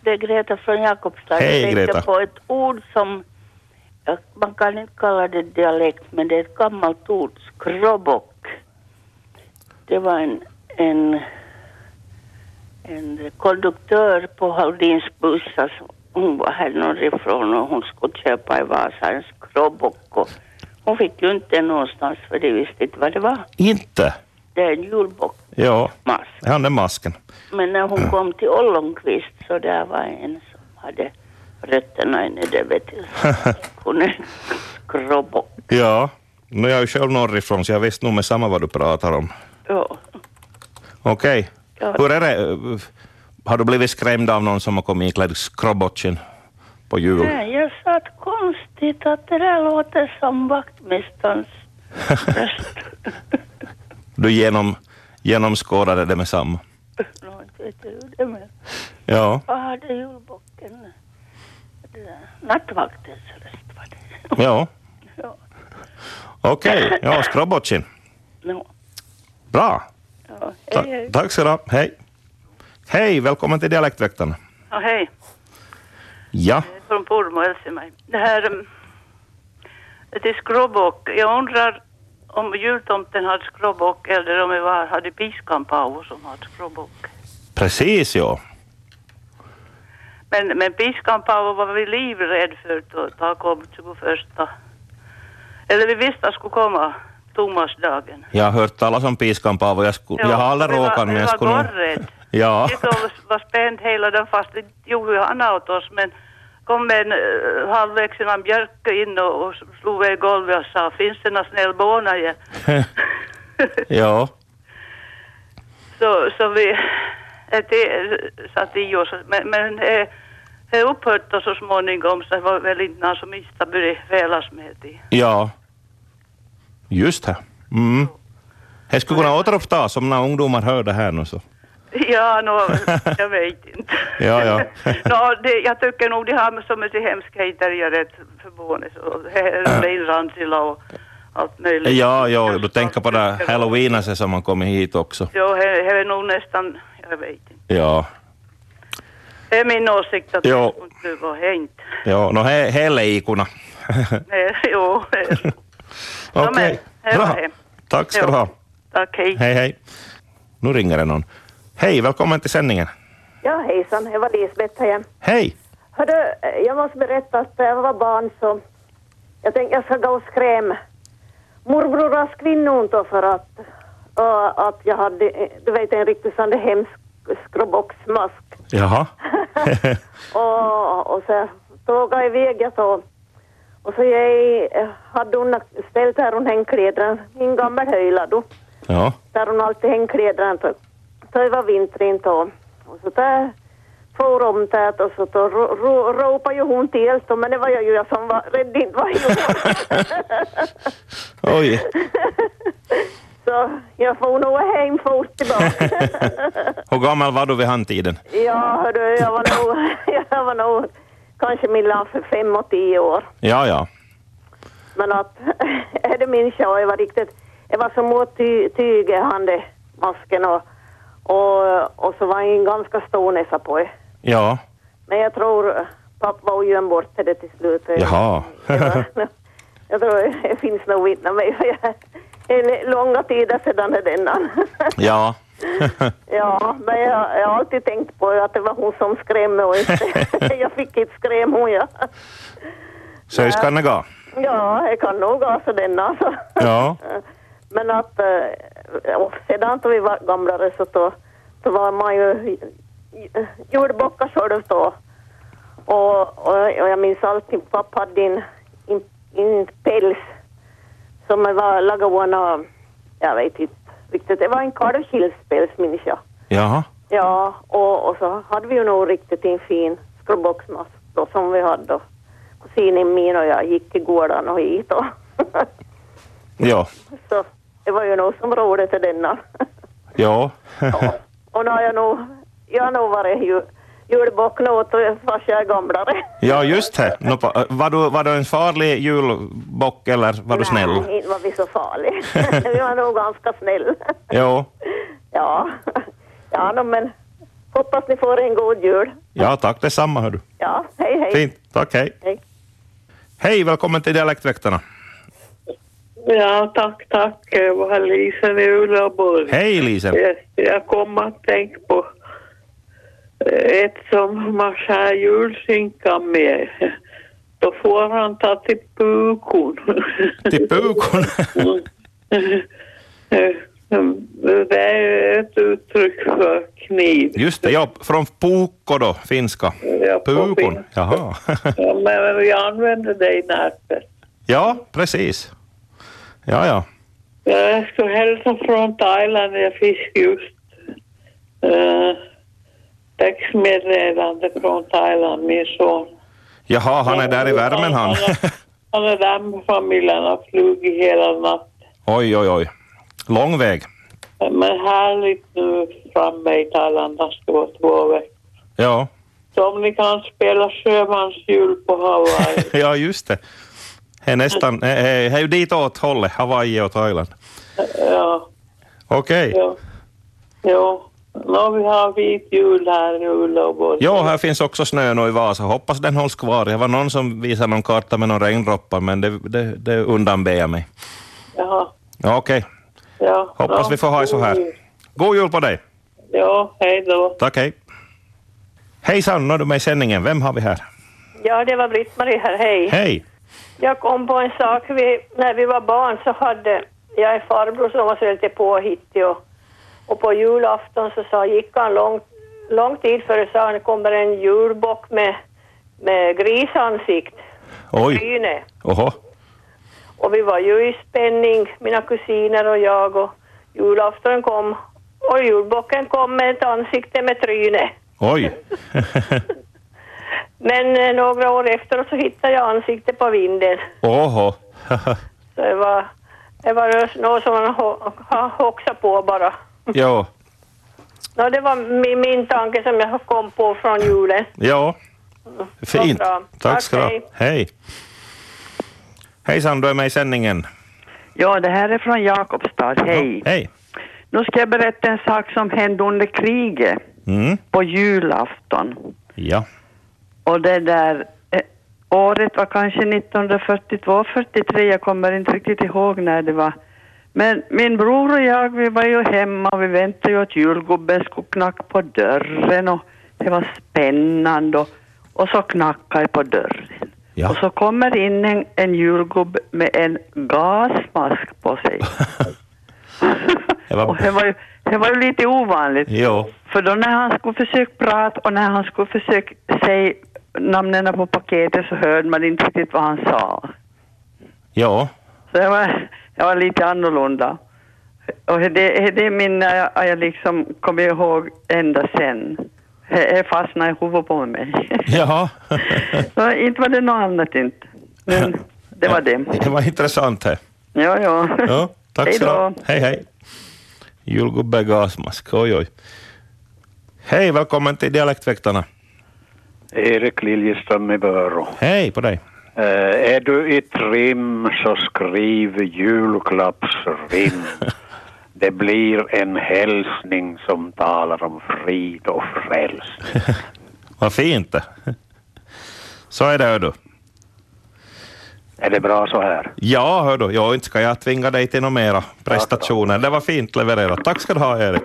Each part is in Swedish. det är Greta från Jakobstad. Hej, jag tänkte Greta. på ett ord som, ja, man kan inte kalla det dialekt, men det är ett gammalt ord, skrobock. Det var en, en, en konduktör på Haldins bussar, som- hon var här norrifrån och hon skulle köpa i Vasa en skrobock. och Hon fick ju inte den någonstans för det visste inte vad det var. Inte? Det är en julbock. Ja, Mask. han är masken. Men när hon kom till Ollonqvist så där var en som hade rötterna nere vet du. Hon är skrobock. ja, nu är jag ju själv norrifrån så jag visste nog med samma vad du pratar om. Ja. Okej, Ja. hur är det? Har du blivit skrämd av någon som har kommit iklädd skrobotchen på jul? Nej, jag sa att konstigt att det där låter som vaktmästarens röst. Du genom, genomskådade det med samma. Nå, inte vet jag hur det är, men Ja, vad hade julbocken? Det där, Nattvaktens röst var det. ja. Ja. Okej, ja, skrobotchen. Nå, Bra. ja. Ta- Hej, hej. tack så du ha. Hej. Hej, välkommen till Dialektväktarna. Ja, hej. Ja, Jag är Från Pormo, Elsimaj. Det här... um, Det är skråbock. Jag undrar om jultomten hade skråbock eller om det var, hade piskan Paavo som hade skråbock. precis ja. Men, men piskan Paavo var vi livrädd för då, då han kom 21. Eller vi visste att han skulle komma, Tomasdagen. Jag har hört talas om piskan Paavo. Jag, sku, jag har aldrig vi var- råkat men jag skulle... Vi var nog- gorrädd. Ja, Tycker hon var spänd hela den fast det gjorde han åt oss men kom en uh, halvvägs innan Björke in och, och slog i golvet och sa finns det någon snäll bånare? ja, så, så vi ett, satt i oss men, men eh, det upphörde så småningom så det var väl inte någon som inte började välas med det. ja. Just det. Mm. Det skulle kunna återupptas om några ungdomar hör det här nu så. Ja, nå, jag vet inte. Ja, ja. nå, det, jag tycker nog de har så mycket hemskheter, jag är rätt förvånad. Och Reinrandsila och allt möjligt. Ja, ja, du tänker på det här halloweenaset som har kommit hit också. Ja, det det är nog nästan, jag vet inte. Ja, Det är min åsikt att Ja. det skulle vara hänt. ja. No, he, he leikuna. Nej, jo, det är så. Okej, men, he var bra. he. Tack ska du Ja. ha. tack, hej. Hej, hej. Nu ringer det någon. Hej, välkommen till sändningen. Ja, hejsan. Det var Lisbeth här. Hej! Hördu, jag måste berätta att när jag var barn så... Jag tänkte jag ska gå och skräm morbrornas kvinnor då för att, ö, att jag hade, eh, du vet, en riktigt sån där hemsk skroboxmask. Jaha. och, och så tågade jag iväg jag då. Och så jag eh, hade hon ställt här hon hängkläderna, min gammal höjla då. ja, där hon alltid hängde kläderna på. Det var vintern då. Och så där for om det och så då ro- ro- ropade ju hon till oss då, men det var jag ju jag som var rädd inte var jag. oj. så jag får nog hem fort tillbaka. Hur gammal var du vid handtiden? ja, hördu, jag var nog, jag var nog kanske mellan för fem och tio år. Ja, ja. Men att, är det min show, jag var riktigt, jag var som åt ty, tyget, han det, masken och, och, och så var jag en ganska stor näsa på det. Ja, Men jag tror pappa och Jön bort det till slut. Jaha. Det var- jag tror det finns nog vittnen mig. för jag- En långa tider sedan är denna. ja. Ja, men jag, jag har alltid tänkt på att det var hon som skrämde och inte. Jag fick inte skräm hon ja. Så ska det gå. Ja, jag kan nog alltså denna alltså. Ja, Men att eh, och sedan då vi var gamlare så, då, så var man ju jordbockar själv då. Och, och, och jag minns alltid pappa hade en, en, en päls som var lagad av, en, jag vet inte riktigt, det var en kalvkilspäls minns jag. jaha. Ja, och, och så hade vi ju nog riktigt en fin skrubboxmask då som vi hade då. Kusinen min och jag gick i gården och hit och Ja, så det var ju nog som roligt i denna. ja. Och nu har jag nog, jag har nog varit ju, julbock nu åt fast jag är gamlare. Ja, just det. Nå, pa- var, du, var du en farlig julbock eller var du snäll? Nej, inte var vi så farlig. vi var nog ganska snäll. Jo. ja, ja no, men hoppas ni får en god jul. Ja tack detsamma hör du. Ja, hej hej. Fint, tack hej. Hej. Hej, välkommen till Dialektväktarna. Ja, tack, tack. Eh, Det var Lisen i Ullaborg. Hej Lisen. Jag, Eh, jag kom att tänka på eh, ett som man skär julskinkan med. Då får han ta till pukon. Till pukon. Det är ett uttryck för kniv. Just det, ja, från pukko då, finska. Ja, på Pukon, finska. jaha. Ja, men vi använder det i närheten. Ja, precis. Ja, ja. Eh, Jag ska hälsa från Thailand. Jag fick just eh, textmeddelande från Thailand, min son. Jaha, han är där i värmen han. Han är där med familjen och har flugit hela natten. Oj, oj, oj. Lång väg. Men härligt nu framme i Thailand. Det ska vara två veckor. Ja, Så om ni kan spela sjömansjul på Hawaii. ja just det. Det är nästan, eh, eh, det är ju ditåt hållet, Hawaii och Thailand. ja, Okej. ja. Jo. Nå, vi har vit jul här i Ullaborg. Ja, här finns också snö nu i Vasa. Hoppas den hålls kvar. Det var någon som visade någon karta med någon regndroppar, men det, det, det undanber jag mig. Jaha. Ja, okej. Ja. Hoppas Nå, vi får ha det så här. God jul på dig! Ja, hej då. Tack, hej. Hejsan, nu är du med i sändningen. Vem har vi här? Ja, det var Britt-Marie här, hej. Hej! Jag kom på en sak, vi, när vi var barn så hade jag en farbror som var så lite påhittig och, och på julafton så sa, gick han lång, lång tid före sa han, "Det kommer en julbock med, med grisansikt, Oj, tryne. oho. Och vi var ju i spänning, mina kusiner och jag och julafton kom och julbocken kom med ett ansikte med tryne. Oj! Men eh, några år efteråt så hittade jag ansiktet på vinden. Oho. Så det var, det var något som man ho- ha- hoxade på bara. jo, No, det var min, min tanke som jag kom på från julen. jo. Fint. bra. Tack ska du ha. Tack, Hej. Hejsan, du är med i sändningen. Ja, det här är från Jakobstad. Hej. Hej. Nu ska jag berätta en sak som hände under kriget Mm. på julafton. Ja. Och det där eh, året var kanske 1942, 43. Jag kommer inte riktigt ihåg när det var. Men min bror och jag, vi var ju hemma och vi väntade ju att julgubben skulle knacka på dörren och det var spännande och, och så knackade det på dörren. Ja. Och så kommer in en, en julgubbe med en gasmask på sig. Det var- och det var, ju, det var ju lite ovanligt. Jo. För då när han skulle försöka prata och när han skulle försöka säga namnen på paketet så hörde man inte riktigt vad han sa. Jo. Så det var, det var lite annorlunda. Och det, det minnet jag, jag liksom kommer ihåg ända sen. Det det fastnade i huvudet på mig. Jaha. så inte var det något annat inte. Men det var det. Det var intressant det. Ja, ja. Ja, tack Hej så då. mycket. Hej, hej. Julgubbe gasmask, oj, oj. Hej, välkommen till Dialektväktarna. Erik Liljeström i Börå. Hej på dig. Eh, är du i trim så skriv julklappsrim. Det blir en hälsning som talar om frid och frälsning. Vad fint det. Så är det, hör du. Är det bra så här? Ja, hör du. Ja, inte ska jag tvinga dig till några mera prestationer. Det var fint levererat. Tack ska du ha, Erik.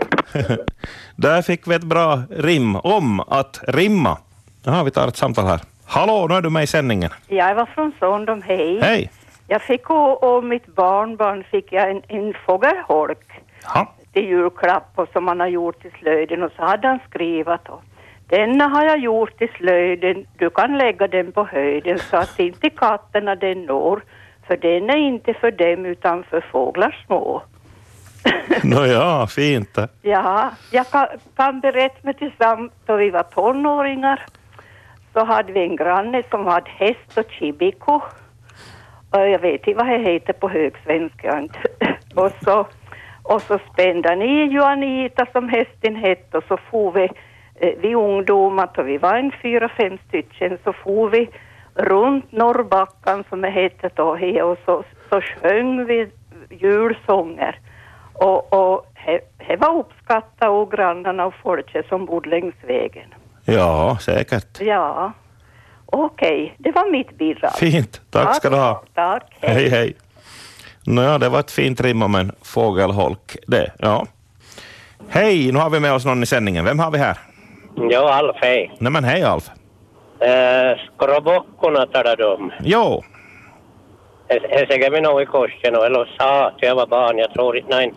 Där fick vi ett bra rim om att rimma. Jaha, vi tar ett samtal här. Hallå, nu är du med i sändningen. Jag var från Sondom, hej. Hej. Jag fick och, och mitt barnbarn fick jag en, en fågelholk Ja. till julklapp och som han har gjort i slöjden och så hade han skrivit och denna har jag gjort i slöjden, du kan lägga den på höjden så att inte katterna den når, för den är inte för dem utan för fåglar små. Nåja, fint det. Ja, jag kan, kan berätta mig tillsammans då vi var tonåringar så hade vi en granne som hade häst och chibiko. Och jag vet inte vad det heter på högsvenska. inte. Och så, och så spände han i Juanita som hästen hette och så for vi, eh, vi ungdomar, då vi var en fyra, fem stycken, så for vi runt Norrbackan som det hette då här, och så, så sjöng vi julsånger. Och, och det var uppskattat och grannarna och folket som bodde längs vägen. Ja, säkert. Ja. Okej, det var mitt bidrag. Fint. Tack ska du ha. Tack. Hej, hej. Nåja, det var ett fint rim om en fågelholk det. Ja. Hej, nu har vi med oss någon i sändningen. Vem har vi här? Jo, Alf, hej. Nej men hej Alf. Äh, skrobockorna talar du om. Jo, Jag säger mig nog i korsen och eller sa till jag var barn, jag tror inte, nej,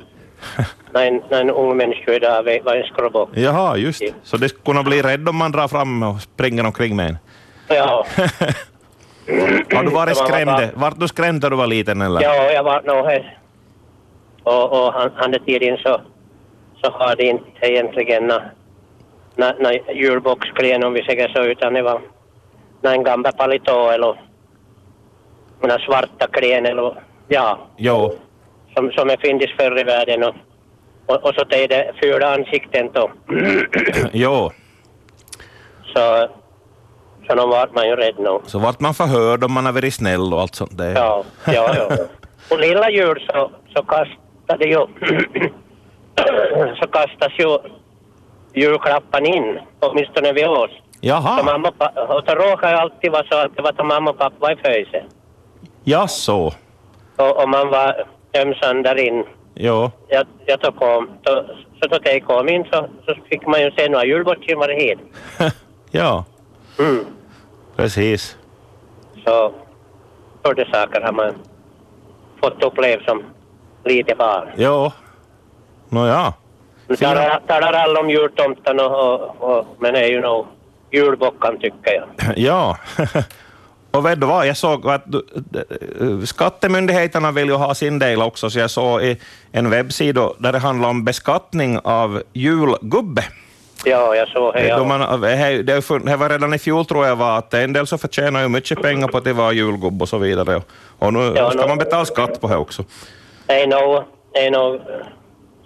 nej, nej, en ung människa idag vet vad en skrobock jaha, just. Så det skulle kunna bli rädd om man drar fram och springer omkring med en. Ja. Har du varit Så man var skrämd? bara- Vart du skrämd när du var liten eller? Ja, no, jag var nog här. Och, och han, han där tiden så, så hade inte egentligen någon nå, nå julboxklen om vi säger så, utan det var nå en gammal palitå eller några svarta klen eller ja, Jo, som, som är finns förr i världen och, och, och så det är det fula ansikten då. jo. Så, så nog var man ju rädd nog. Så vart man förhörd om man har varit snäll och allt sånt där. Ja, ja, ja. På lilla jul så, så kastade ju så kastas ju julklappan in, åtminstone vid oss. Jaha, Så mamma och, pa- och då råkade det alltid vara så att det var då mamma och pappa var i födelsen. ja så. Och, och man var ömsan där in. Jo, Jag, jag tog kom, då, så då jag kom in så, så fick man ju se några julbordsgymmare hit. ja, Mm. precis. Så sådana saker har man fått uppleva som lite barn. Jo. Nåja. Nu Talar, talar alla om jultomten och, och, och men det är ju nog julbockan tycker jag. Ja. Och vet du vad, jag såg att du- eh, skattemyndigheterna vill ju ha sin del också, så jag såg i en webbsida där det handlar om beskattning av julgubbe. Ja, jag såg det. Då Ja. man, eh, det har fun- det var redan i fjol tror jag var att en del så förtjänar ju mycket pengar på att det var julgubbe och så vidare. Och nu Ja, ska nå- man betala skatt på det också. Det är nog, det är nog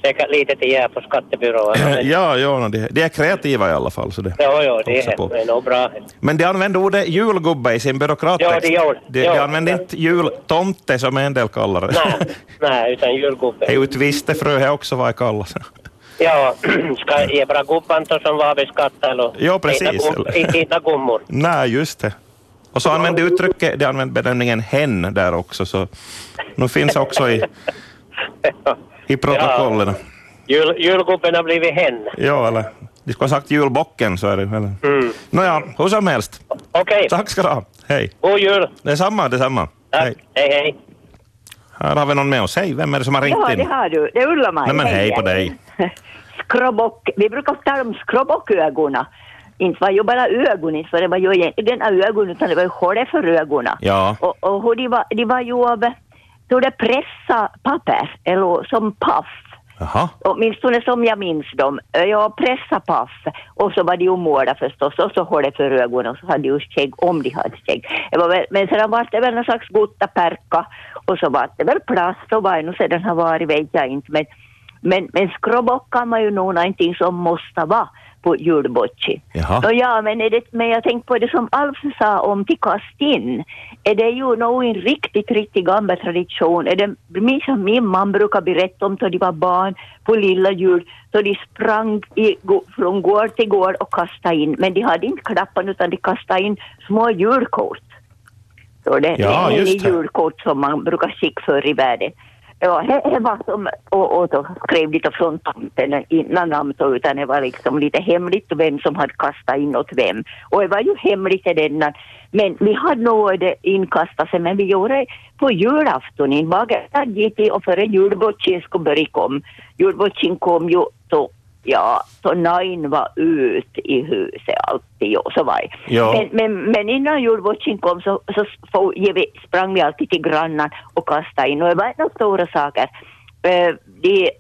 säkert lite till här på skattebyrån. Ja, ja nå, de, de är kreativa i alla fall. Så det. Ja, ja, det Också är, på. det är nog bra. Men de använder ordet julgubbe i sin byråkrattext. Ja, det gör det. de, de Ja. använder inte jultomte som en del kallar det. Nej, nej, utan julgubbe. Det är ju ett vistefrö här också vad det kallas. Ja, ska ge bra gubban då som var beskattad eller? Ja, precis, Inte gum- eller? Inte, inte gummor. Nej, just det. Och så använder uttrycket, de använder benämningen hen där också, så nu finns också i, i protokollen. Jul, julgubben har blivit hen. Ja, eller de skulle ha sagt julbocken så är det väl. Mm. Nåja, hur som helst. Okej, Tack ska du ha. Hej. god jul. Detsamma, detsamma. Tack. Hej. Hej, hej. Här har vi någon med oss. Hej, vem är det som har ringt Ja, det in? har du. Det är Ulla-Maj. Nej men hej på dig. Skrobock. Vi brukar tala om skrobockögonen. Inte var ju bara ögonen, för det var ju egentligen ögon, utan det var ju hålet för ögonen. Ja. Och, och hur de var, de var ju av, då det pressa papper, eller som paff. Jaha. Åtminstone som jag minns dem. Jag pressade paff och så var det ju måla förstås och så höll det för ögonen och så hade ju skägg om de hade skägg. Det var väl- Men sedan var det väl någon slags guttaperka och så var det väl plast och vad nu sedan har varit vet jag inte. Men, men, men skrobockan var ju nog någonting som måste vara på julbocci. Jaha. Nå ja, men, är det, men jag tänkte på det som Alf sa om till kastin. Är det ju nog en riktigt, riktigt gammal tradition. Är det min som min man brukar berätta om då de var barn på lilla jul. Så de sprang i, gå- från gård till gård och kastade in. Men de hade inte klappan utan de kastade in små julkort. Så det, Ja, det är just en det. julkort som man brukar skicka för i världen. Ja, det det var som, och, och då skrev lite från tomten innan namn så, utan det var liksom lite hemligt vem som hade kastat in åt vem. Och det var ju hemligt det denna. Men vi hade nog det inkastat sig, men vi gjorde det på julafton. I Bagdad gick vi och före julbocchen skulle börja komma. Julbocchen kom ju så, ja, så nine var ut i huset alltid och så var det. Ja. Men, men, men innan julbocchen kom så, så få- ge vi, sprang vi alltid till grannar och kastade in. Och det var några stora saker. Eh, de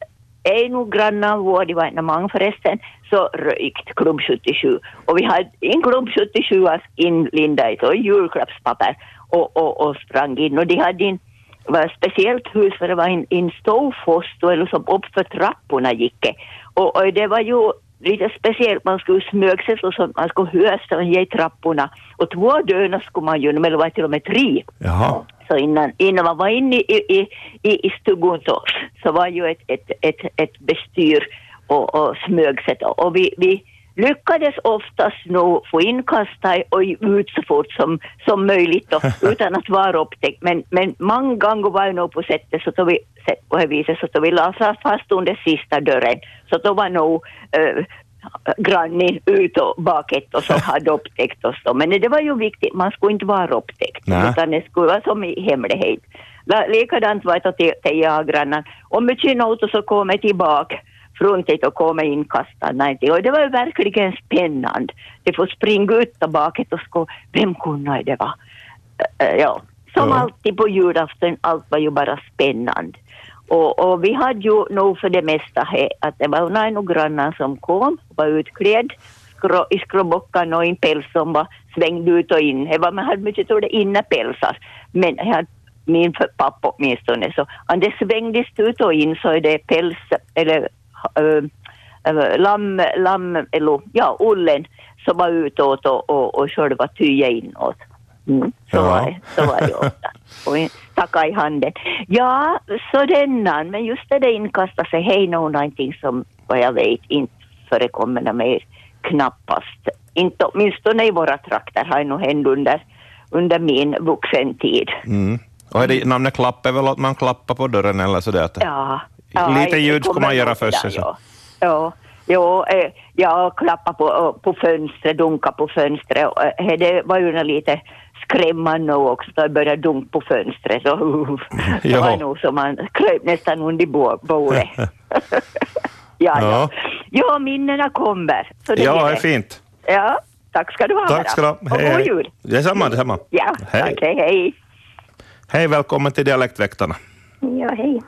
är nog grannar vår, de var inte många förresten, så röjkt klubb 77. Och vi hade en klubb 77 -as inlindad i så julklappspapper och, och, och sprang in. Och de hade en var ett speciellt hus för det var en, en stor fosto eller som upp för trapporna gick. det. Och, och det var ju lite speciellt, man skulle smöga sig så att man skulle höra stånga i trapporna. Och två dörrar skulle man göra, eller var det till och med tre? Jaha. Så innan, innan man var inne i, i, i, i stugan så, så var ju ett, ett, ett, ett bestyr och, och smög sig. då. Och vi, vi lyckades oftast nog få in kastar och ut så fort som, som möjligt då, utan att vara upptäckt. Men, men många gånger var jag nog på sättet så tog vi, sätt på det viset, så tog vi la fast under sista dörren. Så då var nog eh, grannen ut och bakåt och som hade upptäckt oss. Då. Men det var ju viktigt, man skulle inte vara upptäckt, Nej. utan det skulle vara som i hemlighet. La- Likadant var det till, till jag-grannen. Om jag känner ut och så kommer jag tillbaka från det och kommer inkastarna. Och det var ju verkligen spännande. De får springa ut och bakåt och skå. Vem kunde det vara? Eh, ja. Som alltid på julafton, allt var ju bara spännande. Och, och vi hade ju nog för det mesta he, att det var några nog grannar som kom, var utklädd skro, i skrobockan och i en päls som var svängd ut och in. Det var, man hade mycket tror det innepälsar. Men jag hade min för- pappa åtminstone, så han det svängdes ut och in så är det päls eller äh, äh, lamm, lamm, eller ja, ullen som var utåt och, och, och själva tyget inåt. Mm, så var det, så var det ofta. Och en stacka i handen. Ja, så dennan, men just det där inkasta sig, hej nog någonting No som vad jag vet inte förekommer mer, knappast. Inte åtminstone i våra trakter har det nog hänt under, under min vuxentid. Mm. Och är det namnet klapp är väl att man klappar på dörren eller sådär? att- Ja, ja, Lite det ljud ska kommer man göra nog för sig. där, Så. Ja, ja, eh, jag klappade på, på fönstret, dunkade på fönstret. Och, eh, Det var ju nog lite skrämmande också, då jag började dunka på fönstret. Så, det var Jo. nog som man kröp nästan under bo- bordet. ja, ja. ja, minnena kommer. Så det Ja, är det är det. fint. Ja, tack ska du ha. Tack ska du ha. Och god jul. Detsamma, detsamma. Ja, Hej. tack. Hej, hej. Hej, välkommen till Dialektväktarna. Ja, hej.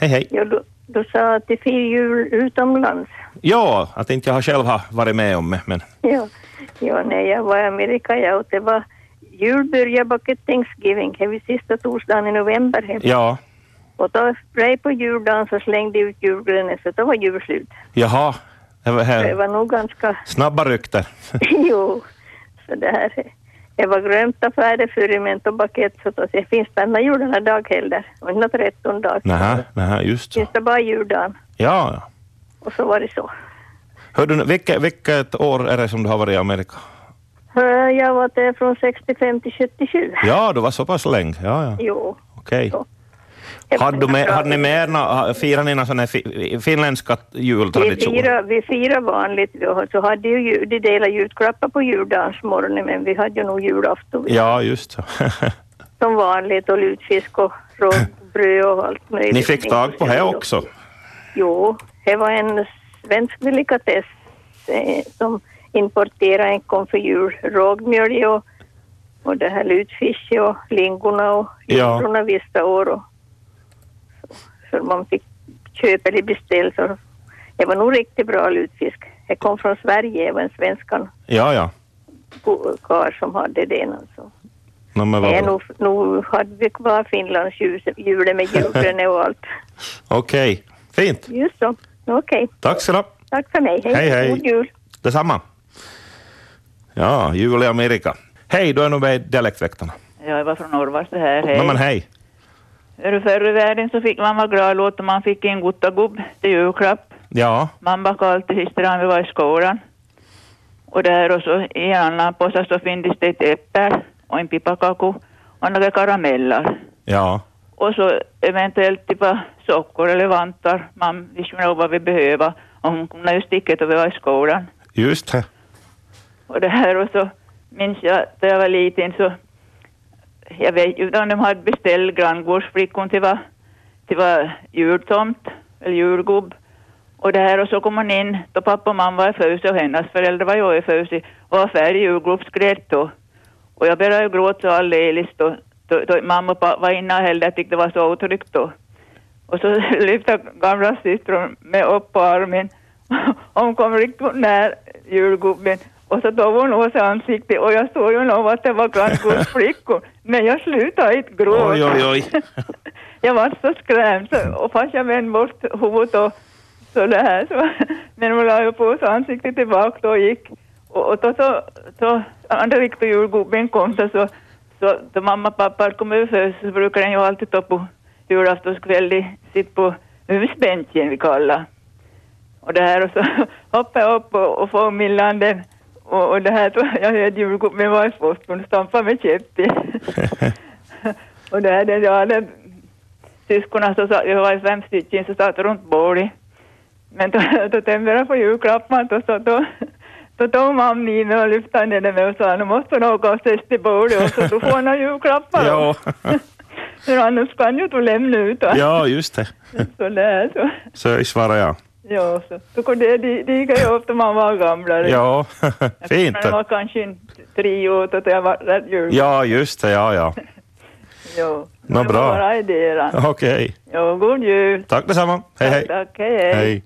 Hej, hej. Ja, du, du sa att det firar jul utomlands. Ja, att inte jag själv har varit med om det, men Ja, ja när jag var i Amerika, ja, och det var jul började bakom Thanksgiving, det var sista torsdagen i november. Här. ja. Och då, right på juldagen så slängde jag ut julgranen, så då var jul slut. Jaha, det var Så Det här. var nog ganska, snabba rykten. jo, så det här. Jag var grömt affärer före med en tobaket, så då, det finns denna julen här dag heller, och inte tretton dag. Nähä, nähä, just så. Finns det bara juldagen, Ja, ja. och så var det så. Hör du, nu, vilket, vilket år är det som du har varit i Amerika? Eh, Jag var där från 65 till 77. Ja, du var så pass länge. Ja, ja. Jo. Okej. Hade, du med, hade ni med er nå- firade ni någon sån här fi, finländska Vi jultradition? firar, vi firar vanligt. Vi har- så hade ju, ju- de delar julklappar på juldagsmorgonen, men vi hade ju nog julafton Ja, just så. som vanligt och lutfisk och rågbröd och allt möjligt. Ni fick tag på det också? Jo, det var en svensk delikatess eh, som importerade en kom för jul. Rågmjölj och, och det här lutfisk och lingorna och Ja. lingorna vissa år. Och, så, så man fick köpa eller beställa. Så det var nog riktigt bra lutfisk. Det kom från Sverige, även svenskan Ja, ja. go- karl som hade den. Alltså. No, men Det är vad bra. nog, nog hade vi kvar Finlands ljus- julen med julgranen och allt. Okej, fint. Just så. Okej. Tack ska du ha. Tack för mig. Hej. Hej, hej. God jul. Detsamma. Ja, jul i Amerika. Hej, du är nog med i Dialektväktarna. Ja, jag var från Norrvasta här. Hej. No, men hej. Hör du, Förr i världen så fick man vara glad åt om man fick en guttagubb till julklapp. Ja, Man bakade alltid sista dagen vi var i skolan. Och där och så i en annan påse så finns det ett äpple och en pipakaku och några karameller. ja. Och så eventuellt typa sockor eller vantar. Man visste nog vad vi behöver. Och hon kunde ju sticka då vi var i skolan. Just det. Och det här och så minns jag att jag var liten så jag vet ju inte om de hade beställt granngårdsflickan till var, till var jultomt eller julgubb. Och det här och så kom hon in då pappa och mamma var i Föuse och hennes föräldrar var ju i Föuse och var färdig julgubbsgrät då. Och jag började ju gråta så alldeles då, då, då mamma och pappa var inne och hällde. Jag tyckte det var så otryggt då. Och så lyfte gamla systern mig upp på armen. Hon kom riktigt nära julgubben och så tog hon åt sig ansiktet och jag såg ju nog att det var granngubbsflickor. Men jag slutade inte gråta. Oj, oj, oj. Jag var så skrämd så, och fast jag vände bort huvudet och så det här så, men hon la ju på sig ansiktet tillbaka då och gick. Och, och då så, så andra riktiga julgubben kom så, så, så då mamma och pappa kom över först så brukar den ju alltid ta på julaftonskväll, de sitter på husbänken vi kallar. och det här och så hoppade jag upp och, och får min landen och, och det här tror jag, jag hörde julgubben med vargfostern stampa med käpp i. och det här den dagen syskonen så satt, jag var ju fem stycken, så satt runt bordet. Men då, då tänkte jag på julklapparna och så då då tog mamma in och lyfte ner den med och sa nu måste hon åka och ses till bordet och så då får hon julklappar. Ja. För annars kan ju du lämna ut. va? ja, just det. Så där så. Så svarar jag. Ja, så. Då kom det, det, det gick jag upp när man var gamlare. Ja, fint. Man var kanske inte tre år då jag var rätt jul. Ja, just det. Ja, ja. ja. Nå, Det var bra. Bara idéer. Okej. Ja, god jul. Tack detsamma. Hej, hej. Tack, hej. hej.